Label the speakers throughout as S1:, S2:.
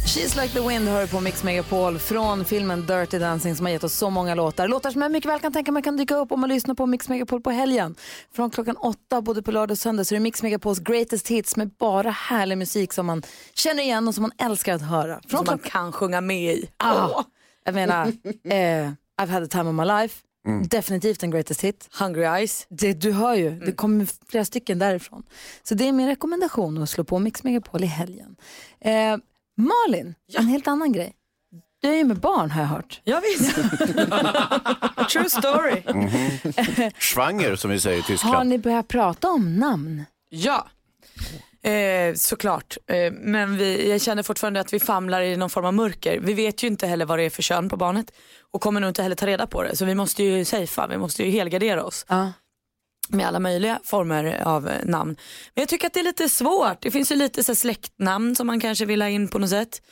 S1: She's like the wind hör på Mix Megapol från filmen Dirty Dancing som har gett oss så många låtar. Låtar som jag mycket väl kan tänka mig kan dyka upp om man lyssnar på Mix Megapol på helgen. Från klockan åtta både på lördag och söndag så är det Mix Megapols greatest hits med bara härlig musik som man känner igen och som man älskar att höra. Från
S2: som man
S1: klockan...
S2: kan sjunga med i.
S1: Ah, jag menar, eh, I've had the time of my life. Definitivt en greatest hit.
S2: Hungry Eyes.
S1: Det, du hör ju, det kommer flera stycken därifrån. Så det är min rekommendation att slå på Mix Megapol i helgen. Eh, Malin, en helt annan grej. Du är ju med barn har jag hört.
S2: Ja, visst. True story.
S3: Schwanger som vi säger i
S1: Har
S3: Tyskland.
S1: ni börjat prata om namn?
S2: Ja, eh, såklart. Eh, men vi, jag känner fortfarande att vi famlar i någon form av mörker. Vi vet ju inte heller vad det är för kön på barnet och kommer nog inte heller ta reda på det. Så vi måste ju safea, vi måste ju helgardera oss
S1: Ja.
S2: med alla möjliga former av eh, namn. Men jag tycker att det är lite svårt. Det finns ju lite så här släktnamn som man kanske vill ha in på något sätt.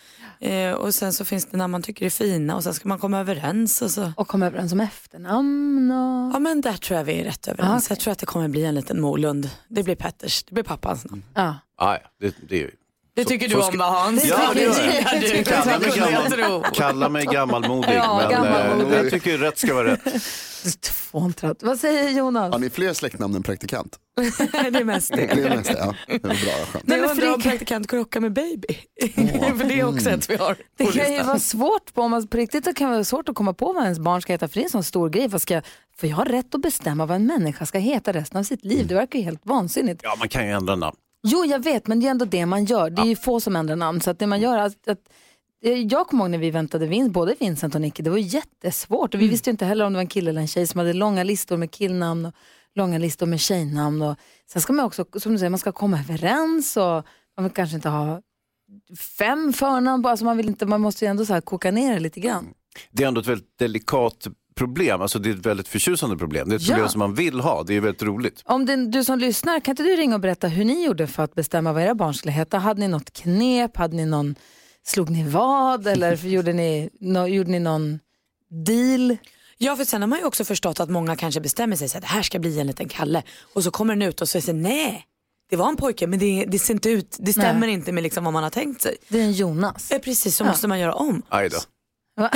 S2: Eh, och sen så finns det namn man tycker är fina och sen ska man komma överens och så.
S1: Och komma överens om efternamn och...
S2: Ja men där tror jag vi är rätt överens.
S1: Ah, okej.
S2: Jag tror att det kommer bli en liten Molund. Det blir Petters, det blir pappans namn.
S1: Ja.
S3: Ah, ja, det, det är
S2: Det
S3: Så-
S2: tycker
S3: så
S2: du
S3: ska-
S2: om va Hans?
S3: Ja, det gör
S2: Ja, du,
S3: jag. Kalla mig,
S2: kunde jag tro.
S3: gammal, kalla mig gammalmodig,
S1: Ja,
S3: men
S1: gammalmodig.
S3: Eh, jag tycker rätt ska vara rätt.
S1: Fåntrat. Vad säger Jonas?
S4: Har ni fler släktnamn än praktikant?
S2: Det är mest
S4: Det
S2: det.
S4: är mest det, ja. Det var bra, skönt.
S2: Nej,
S1: men
S2: men undrar om
S1: Fredrik-
S2: praktikant krocka med baby. För det är också ett vi har
S1: Det
S2: på
S1: kan ju
S2: listan.
S1: vara svårt, på, om man, på riktigt det kan vara svårt att komma på vad ens barn ska heta, för det är en sån stor grej. Vad ska, jag- för jag har rätt att bestämma vad en människa ska heta resten av sitt liv. Det verkar ju helt vansinnigt.
S3: Ja, man kan ju ändra namn.
S1: Jo, jag vet, men det är ändå det man gör. Det är ju få som ändrar namn. Så att det man gör är att, att, eh, jag kommer ihåg när vi väntade Vin, både Vincent och Nicky, det var jättesvårt. Och vi visste ju inte heller om det var en kille eller en tjej som hade långa listor med killnamn och långa listor med tjejnamn. Och, sen ska man också, som du säger, man ska komma överens och man vill kanske inte ha fem förnamn. Alltså man, vill inte, man måste ju ändå så här koka ner det lite grann.
S3: Det är ändå ett väldigt delikat problem, alltså det är ett väldigt förtjusande problem. Det är ett
S1: Ja.
S3: problem som man vill ha, det är väldigt roligt.
S1: Om det, du som lyssnar, kan inte du ringa och berätta hur ni gjorde för att bestämma vad era barn skulle heta? Hade ni något knep? Hade ni någon, slog ni vad? Eller gjorde, ni, nå- gjorde ni någon deal?
S2: Ja, för sen har man ju också förstått att många kanske bestämmer sig så att det här ska bli en liten Kalle. Och så kommer den ut och så säger nej, det var en pojke men det, det ser inte ut, det stämmer inte med liksom vad man har tänkt sig.
S1: Det är en Jonas.
S2: Eh, Precis, så måste man göra om.
S3: Aj då.
S1: Va?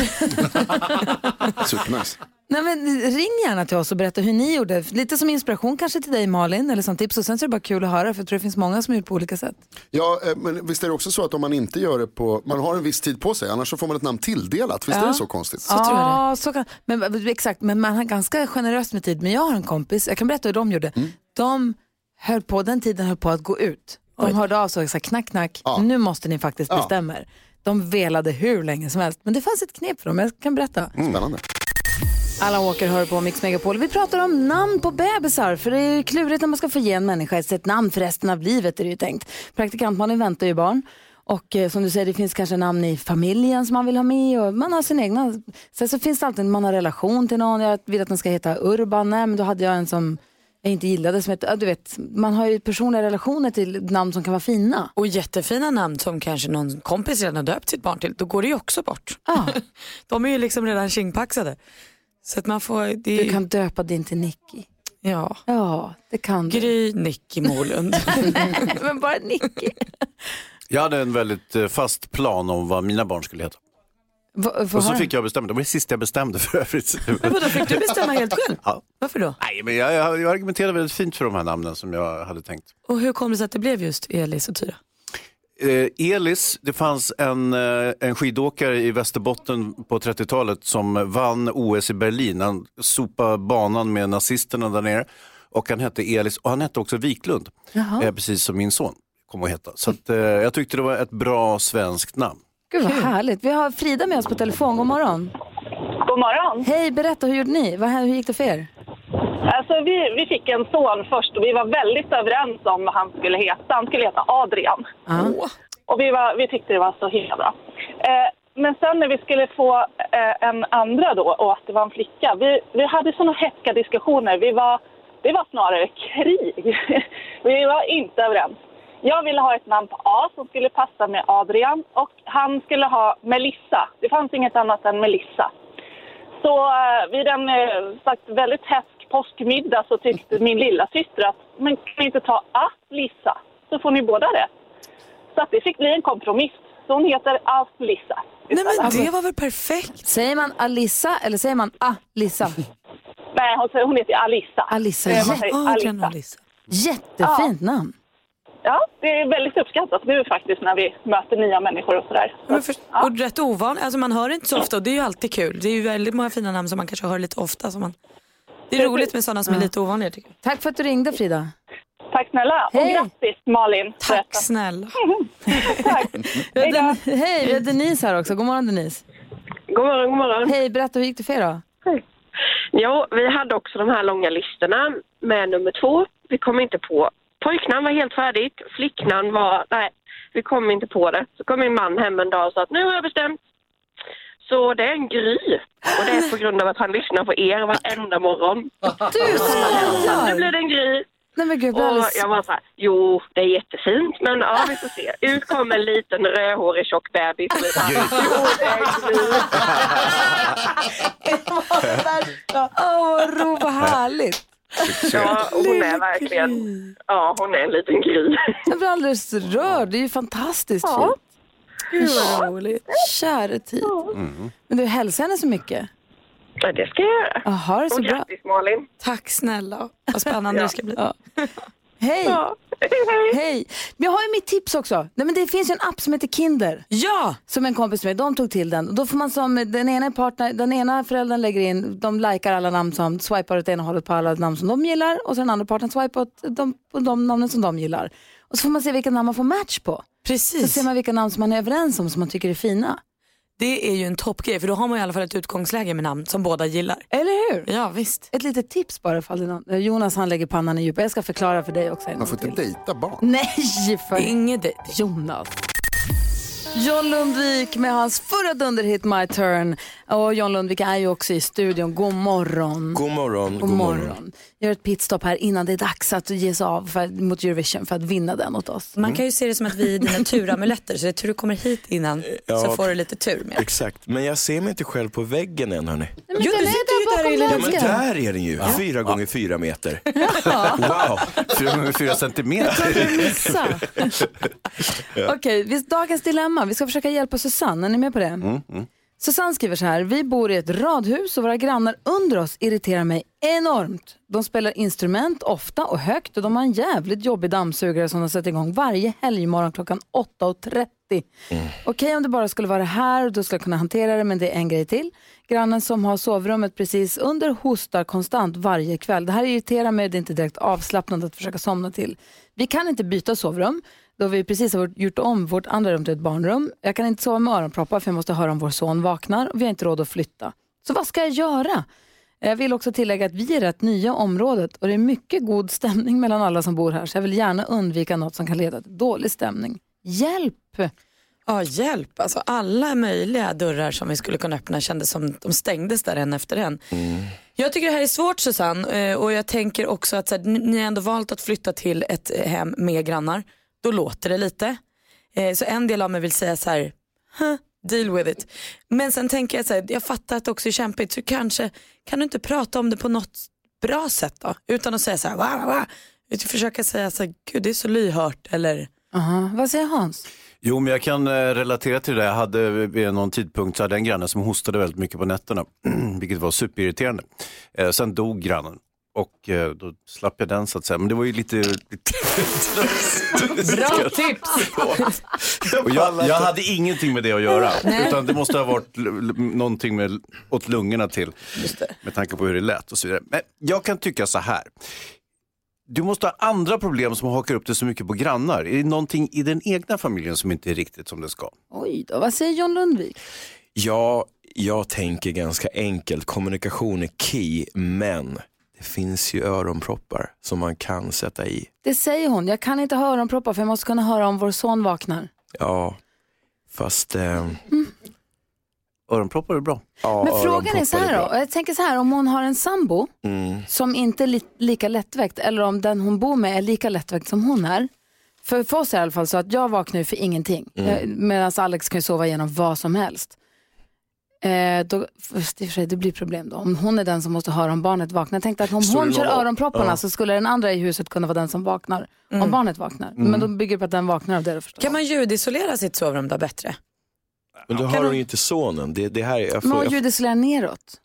S4: Supernice.
S1: Nej, men ring gärna till oss och berätta hur ni gjorde. Lite som inspiration kanske till dig Malin, eller som tips. Och sen så är det bara kul att höra, för jag tror det finns många som har gjort på olika sätt.
S4: Ja, eh, men visst är det också så att om man inte gör det på, man har en viss tid på sig, annars så får man ett namn tilldelat. Visst är det så konstigt?
S1: ja,
S2: tror jag
S1: Så kan, men, exakt, men man har ganska generöst med tid. Men jag har en kompis, jag kan berätta hur de gjorde. De höll på, den tiden höll på att gå ut. De hörde av sig och sa knack, knack, nu måste ni faktiskt bestämma er. De velade hur länge som helst. Men det fanns ett knep för dem, jag kan berätta.
S4: Spännande.
S1: Alla åker hör på Mix Megapol. Vi pratar om namn på bebisar, för det är ju klurigt när man ska få ge en människa ett namn för resten av livet är det ju tänkt. Praktikantmannen väntar ju barn. Och eh, som du säger, det finns kanske namn i familjen som man vill ha med och man har sin egna. Sen så finns det alltid, man har relation till någon, jag vill att den ska heta Urban, nej men då hade jag en som jag inte gillade som hette, ja, du vet, man har ju personliga relationer till namn som kan vara fina.
S2: Och jättefina namn som kanske någon kompis redan har döpt sitt barn till, då går det ju också bort.
S1: Ja.
S2: De är ju liksom redan tjingpaxade. Så att man får, det är,
S1: Du kan döpa din till Nicky.
S2: ja.
S1: Ja, det kan du.
S2: Gry Nicky Molund.
S1: men bara Nicky.
S3: Jag hade en väldigt eh, fast plan om vad mina barn skulle heta.
S1: Va, va,
S3: Och så fick jag bestämma, det var det sista jag bestämde för övrigt.
S2: Vadå, fick du bestämma helt själv?
S3: Ja.
S2: Varför då?
S3: Nej, men jag, jag, jag argumenterade väldigt fint för de här namnen som jag hade tänkt.
S2: Och hur kom det sig att det blev just Elis och Tyra?
S3: Eh, Elis, det fanns en, eh, en skidåkare i Västerbotten på 30-talet som vann OS i Berlin. Han sopade banan med nazisterna där nere. Och han hette Elis och han hette också Wiklund,
S1: Jaha.
S3: eh, precis som min son kommer att heta. Så att, eh, jag tyckte det var ett bra svenskt namn.
S1: Gud vad härligt. Vi har Frida med oss på telefon. God morgon.
S5: God morgon.
S1: Hej, berätta hur gjorde ni? Vad, hä- hur gick det för er?
S5: Alltså, vi, vi fick en son först och vi var väldigt överens om vad han skulle heta. Han skulle heta Adrian. Och vi, var, vi tyckte det var så himla bra. Eh, men sen när vi skulle få eh, en andra då och att det var en flicka. Vi, vi hade såna hätska diskussioner. Vi var, det var snarare krig. vi var inte överens. Jag ville ha ett namn på A som skulle passa med Adrian och han skulle ha Melissa. Det fanns inget annat än Melissa. Så eh, vid en eh, sagt, väldigt hätsk påskmiddag så tyckte min lilla syster att men kan ni inte ta A-Lissa så får ni båda rätt. Så att det fick bli en kompromiss. Så hon heter Alltså, Alf-Lissa.
S2: Nej men det var väl perfekt?
S1: Säger man Alissa eller säger man Alissa?
S5: Nej, hon, säger- hon heter Alissa.
S1: Alissa,
S5: Eh,
S1: ja.
S5: man
S2: Ah,
S5: säger
S2: Adrian och
S5: Alissa.
S2: Lisa.
S1: Jättefint namn.
S5: Ja, det är väldigt uppskattat nu faktiskt när vi möter nya människor och sådär.
S2: Ja, Men för, och rätt ovanligt, alltså man hör det inte så ofta och det är ju alltid kul. Det är ju väldigt många fina namn som man kanske hör lite ofta. Som man... Det är roligt med sådana som är lite ovanliga tycker jag.
S1: Tack för att du ringde Frida.
S5: Tack snälla och
S1: Hej.
S5: grattis Malin. för
S2: Tack
S5: detta.
S2: snälla.
S5: Tack. Hej då.
S1: Hej, vi har Denise här också. God morgon Denise.
S6: God morgon, god morgon.
S1: Hej, berätta hur gick det för er då?
S6: Jo, vi hade också de här långa listorna med nummer två. Vi kom inte på. Pojknamn var helt färdigt. Flicknamn var... Nej, vi kom inte på det. Så kom min man hem en dag och sa att nu har jag bestämt. Så det är en Gry. Och det är på grund av att han lyssnar på er varenda morgon.
S1: Du
S6: Nu
S1: skojar!
S6: blir det en Gry.
S1: Nej men gud, jag blir
S6: Och
S1: alldeles...
S6: jag var så här, jo, det är jättefint, men ja, vi får se. Ut kom en liten rödhårig tjock bebis. Och vi bara, Jo, det är en Gry.
S1: Åh, vad ro, vad härligt.
S6: Ja, och hon är verkligen... Ja, hon är en liten Gry.
S1: Jag blir alldeles rörd. Det är ju fantastiskt fint.
S2: Gud vad roligt.
S1: Käre tid. Men du, hälsa henne så mycket.
S6: Ja, det ska jag göra.
S1: Ja, ha det så
S6: Och
S1: bra.
S6: grattis Malin.
S2: Tack snälla. Vad spännande det ska bli.
S1: Ja. Hej!
S6: Ja, hej.
S1: Hej! Men jag har ju mitt tips också. Nej, men det finns ju en app som heter Kinder.
S2: Ja!
S1: Som en kompis med, de tog till den. Och Då får man som, den ena, är partner, den ena föräldern lägger in, de likar alla namn som, swipar åt ena hållet på alla namn som de gillar och så den andra parten swipar åt de, på de namnen som de gillar. Och så får man se vilka namn man får match på. Så
S2: Precis.
S1: ser man vilka namn som man är överens om som man tycker är fina.
S2: Det är ju en toppgrej för då har man i alla fall ett utgångsläge med namn som båda gillar.
S1: Eller hur?
S2: Ja visst.
S1: Ett litet tips bara ifall det är någon. Jonas han lägger pannan i djupet. Jag ska förklara för dig också en
S4: Man
S1: gång
S4: får
S1: till.
S4: inte dejta barn.
S1: Nej, för
S2: Inget dejt.
S1: Jonas. John Lundvik med hans förra dunderhit My Turn. Och John Lundvik är ju också i studion. God morgon.
S7: God morgon.
S1: God morgon. Gör ett pitstop här innan det är dags att ge sig av för, mot Eurovision för att vinna den åt oss.
S2: Man kan ju se det som att vi är dina turamuletter så det är tur du kommer hit innan så
S7: Ja.
S2: får du lite tur med.
S7: Exakt, men jag ser mig inte själv på väggen än hörni.
S1: Men
S2: Jo, du sitter ju där i lilla
S7: Ja, men där är den ju, fyra gånger fyra meter. Wow,
S3: 4 gånger 4 centimeter.
S1: missa. Okej, vi- dagens dilemma. Vi ska försöka hjälpa Susanne. Är ni med på det?
S7: Mm.
S1: Susanne skriver så här. Vi bor i ett radhus och våra grannar under oss irriterar mig enormt. De spelar instrument ofta och högt och de har en jävligt jobbig dammsugare som de sätter igång varje helgmorgon klockan 8.30. Okej om det bara skulle vara det här, då skulle jag kunna hantera det, men det är en grej till. Grannen som har sovrummet precis under hostar konstant varje kväll. Det här irriterar mig, det är inte direkt avslappnande att försöka somna till. Vi kan inte byta sovrum, då vi precis har varit- gjort om vårt andra rum till ett barnrum. Jag kan inte sova med öronproppar för jag måste höra om vår son vaknar och vi har inte råd att flytta. Så vad ska jag göra? Jag vill också tillägga att vi är rätt nya i området och det är mycket god stämning mellan alla som bor här så jag vill gärna undvika något som kan leda till dålig stämning. Hjälp!
S2: Ja, hjälp. Alltså, alla möjliga dörrar som vi skulle kunna öppna kändes som de stängdes där en efter en. Jag tycker det här är svårt Susanne eh, och jag tänker också att så här, ni- ni har ändå valt att flytta till ett eh, hem med grannar. Då låter det lite. Eh, Så en del av mig vill säga så här, "Huh, deal with it. Men sen tänker jag så här, jag fattar att det också är kämpigt så kanske kan du inte prata om det på något bra sätt då? Utan att säga så här, va, va, va. Utan försöka säga så här, gud det är så lyhört eller
S1: Aha, vad säger Hans?
S3: Jo, men jag kan eh, relatera till det. Jag hade vid någon tidpunkt så hade jag en granne som hostade väldigt mycket på nätterna, vilket var superirriterande. Eh, sen dog grannen och eh, då slapp jag den så att säga. Men det var ju lite...
S1: Bra tips!
S3: Och jag, jag hade ingenting med det att göra, utan det måste ha varit l- l- någonting med, åt lungorna till, med tanke på hur det lät och så vidare. Men jag kan tycka så här. Du måste ha andra problem som hakar upp dig så mycket på grannar. Är det någonting i den egna familjen som inte är riktigt som det ska?
S1: Oj då, vad säger John Lundvik?
S7: ja, jag tänker ganska enkelt, kommunikation är key, men det finns ju öronproppar som man kan sätta i.
S1: Det säger hon. Jag kan inte ha öronproppar för jag måste kunna höra om vår son vaknar.
S7: Ja, fast... Eh,
S3: Öronproppar är bra.
S7: ja,
S1: Men frågan är
S7: öronproppar
S1: så här
S7: bra.
S1: då. Jag tänker så här, om hon har en sambo
S7: Mm.
S1: som inte är li- lika lättväckt eller om den hon bor med är lika lättväckt som hon är. För, för oss är det i alla fall så att jag vaknar ju för ingenting. Mm. Medan Alex kan ju sova igenom vad som helst. Eh, då, först i och för sig, det blir problem då. Om hon är den som måste höra om barnet vaknar. Jag tänkte att om
S7: Står
S1: hon
S7: det
S1: kör
S7: någon-
S1: öronpropparna
S7: Ja.
S1: så skulle den andra i huset kunna vara den som vaknar. Om barnet vaknar.
S7: Mm.
S1: Men då bygger det på att den vaknar av det då förstås.
S2: Kan man ljudisolera sitt sovrum då bättre?
S7: Men då har hon ju inte sonen. Det, det här är... Jag
S1: Men hon
S7: jag
S1: ljudisolerar neråt.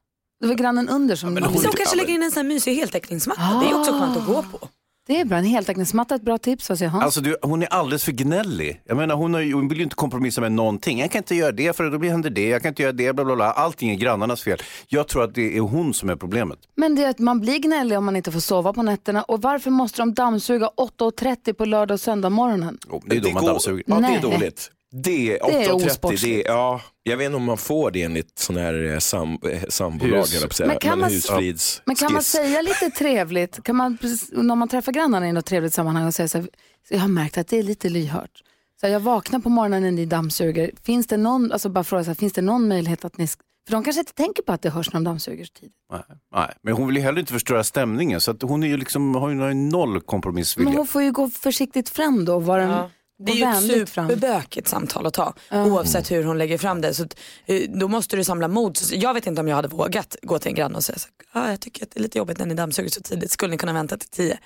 S1: Det var grannen under som...
S2: Så kanske lägger in en sån här mysig heltäckningsmatta. Det är också skönt att gå på.
S1: Det är bra, en heltäckningsmatta är ett bra tips. Vad säger Hans?
S3: Alltså, du, hon är alldeles för gnällig. Jag menar, hon, har, ju- hon vill ju inte kompromissa med någonting. Jag kan inte göra det för då blir händer det. Jag kan inte göra det, bla bla bla. Allting är grannarnas fel. Jag tror att det är hon som är problemet.
S1: Men det är att man blir gnällig om man inte får sova på nätterna. Och varför måste de dammsuga 8.30 på lördag och söndag morgonen?
S3: Det är då man
S7: går-
S3: dammsuger.
S7: Ja, det
S1: Nej.
S7: är dåligt. Det är
S1: Det är
S7: 8.30. Det
S1: osportsligt.
S7: är, ja, jag vet inte om man får det enligt sån här eh, sam, eh, sambolag, höll
S3: Hus.
S7: jag på att säga.
S1: Men kan man-
S7: husfrids,
S1: Men kan man
S7: skiss.
S1: säga lite trevligt, kan man, precis- när man träffar grannarna i något trevligt sammanhang och säga så här, jag har märkt att det är lite lyhört. Så här, jag vaknar på morgonen när ni dammsuger. Finns det någon, alltså bara fråga så här, finns det någon möjlighet att ni, sk- för de kanske inte tänker på att det hörs när de dammsuger så tidigt.
S3: Nej, nej. Men hon vill ju heller inte förstöra stämningen. Så att hon är ju liksom, har ju noll kompromissvilja.
S1: Men hon får ju gå försiktigt fram då, vara en, gå
S2: Det är ju ett
S1: vänligt fram.
S2: superbökigt samtal att ta oavsett hur hon lägger fram det. Så att, eh, då måste du samla mod. Så jag vet inte om jag hade vågat gå till en granne och säga så här, ah, jag tycker att det är lite jobbigt när ni dammsuger så tidigt, skulle ni kunna vänta till tio?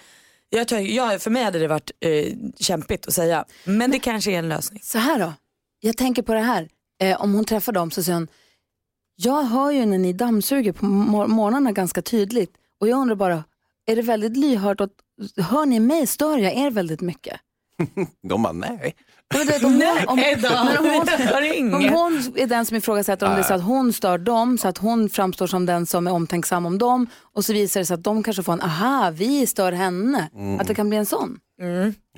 S2: Jag tror, jag, för mig hade det varit eh, kämpigt att säga, men det kanske är en lösning.
S1: Så här då, jag tänker på det här. Eh, om hon träffar dem så säger hon, jag hör ju när ni dammsuger på mor- morgnarna ganska tydligt och jag undrar bara, är det väldigt lyhört? Och, hör ni mig? Stör jag er väldigt mycket?
S3: De bara, nej.
S1: Ja, men du vet, om hon, om,
S2: Nej då,
S1: men om hon,
S2: det var inget.
S1: om hon är den som ifrågasätter om det är så att hon stör dem, så att hon framstår som den som är omtänksam om dem och så visar det sig att de kanske får en, aha, vi stör henne. Att det kan bli en sån.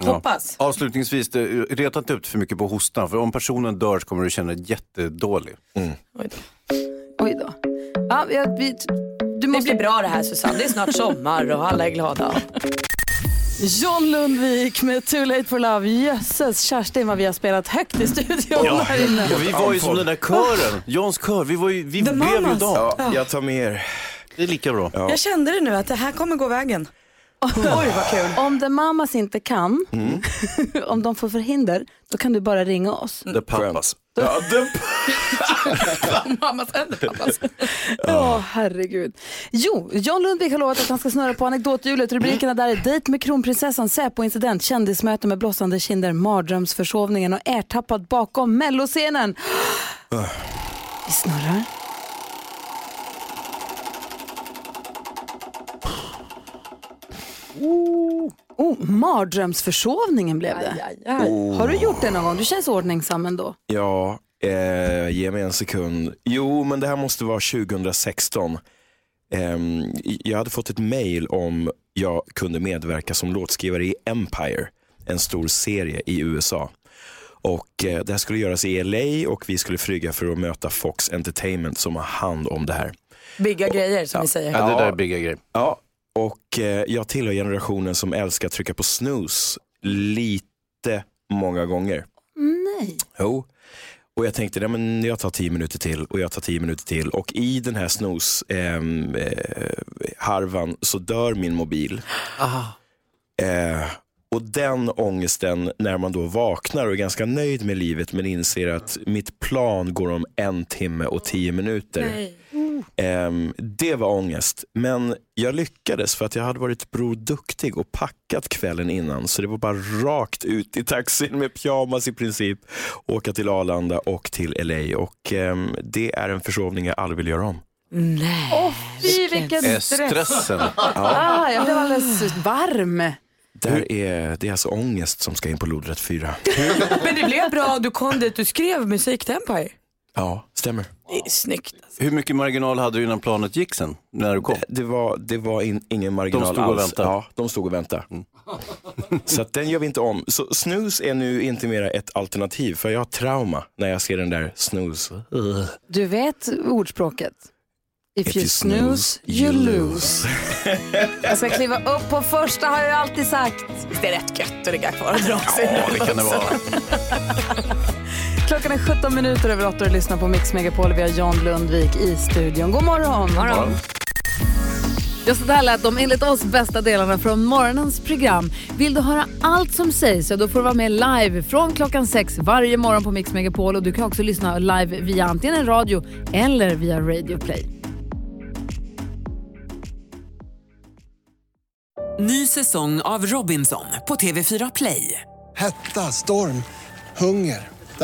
S2: Hoppas.
S3: Avslutningsvis, det- reta inte ut för mycket på hostan. För om personen dör så kommer du känna dig jättedålig.
S2: Oj då.
S1: Oj då. Ja, jag, vi, du
S2: Det
S1: måste
S2: blir bra det här Susanne, det är snart sommar och alla är glada.
S1: John Lundvik med Too Late For Love. Jösses, Kerstin vad vi har spelat högt i studion här inne.
S3: Ja, vi var ju som den där kören, Johns kör. Vi, var ju, vi blev ju
S2: Mamas.
S3: dem.
S7: Ja, jag tar med er.
S3: Det är lika bra.
S2: Jag kände det nu att det här kommer gå vägen. Oj vad kul.
S1: Om The Mamas inte kan, om de får förhinder, då kan du bara ringa oss.
S3: The Pampas.
S7: Ja, det...
S2: Mammas händer pappas.
S1: Ja, herregud. Jo, John Lundvik har lovat att han ska snurra på anekdothjulet. Rubrikerna där är Dejt med kronprinsessan, Säpo-incident, kändismöte med blossande kinder, mardrömsförsovningen och ertappad bakom melloscenen. Vi snurrar. Oh, mardrömsförsovningen blev det. Har du gjort det någon gång? Du känns ordningsam ändå.
S7: ja eh, ge mig en sekund. Jo, men det här måste vara 2016. Ehm, jag hade fått ett mail om jag kunde medverka som låtskrivare i Empire, en stor serie i USA. Och eh, Det här skulle göras i LA och vi skulle flyga för att möta Fox Entertainment som har hand om det här.
S2: Bigga grejer som vi säger.
S3: Ja, det där är bigga grejer.
S7: Ja, och eh, jag tillhör generationen som älskar att trycka på snooze lite många gånger.
S1: Nej.
S7: Jo. Och jag tänkte, nej, men jag tar tio minuter till och jag tar tio minuter till. Och i den här snooze-harvan eh, harvan så dör min mobil. Eh, och den ångesten när man då vaknar och är ganska nöjd med livet men inser att mitt plan går om en timme och tio minuter. Ehm, det var ångest, men jag lyckades för att jag hade varit broduktig och packat kvällen innan. Så det var bara rakt ut i taxin med pyjamas i princip, åka till Arlanda och till LA. Och ehm, Det är en försovning jag aldrig vill göra om.
S2: Nej.
S1: Fy, vilken
S3: Eh, Stressen.
S1: Ah, jag blev alldeles varm.
S7: Där är, det är alltså ångest som ska in på lodrätt 4.
S2: Men det blev bra, du kom dit, du skrev musik till Empire.
S7: Ja, stämmer.
S2: Det är snyggt. Alltså.
S3: Hur mycket marginal hade du innan planet gick sen? När du kom?
S7: Det var, det var in, ingen marginal
S3: De stod och
S7: alls.
S3: väntade. Mm.
S7: Ja, de stod och väntade. Så att den gör vi inte om. Så snus är nu inte mera ett alternativ, för jag har trauma när jag ser den där snus.
S1: Du vet ordspråket? If you snooze, you lose. Jag ska kliva upp på första har jag ju alltid sagt. Det är rätt gött att ligga kvar och dra sig.
S3: Ja, det kan det vara.
S1: Klockan är 17 minuter över 8 och du lyssnar på Mix Megapol. Vi har John Lundvik i studion. God morgon!
S8: morgon.
S1: Just det här lät de enligt oss bästa delarna från morgonens program. Vill du höra allt som sägs så då får du vara med live från klockan sex varje morgon på Mix Megapol och du kan också lyssna live via antingen radio eller via Radio Play.
S9: Ny säsong av Robinson på TV4 Play.
S10: Hetta, storm, hunger. Det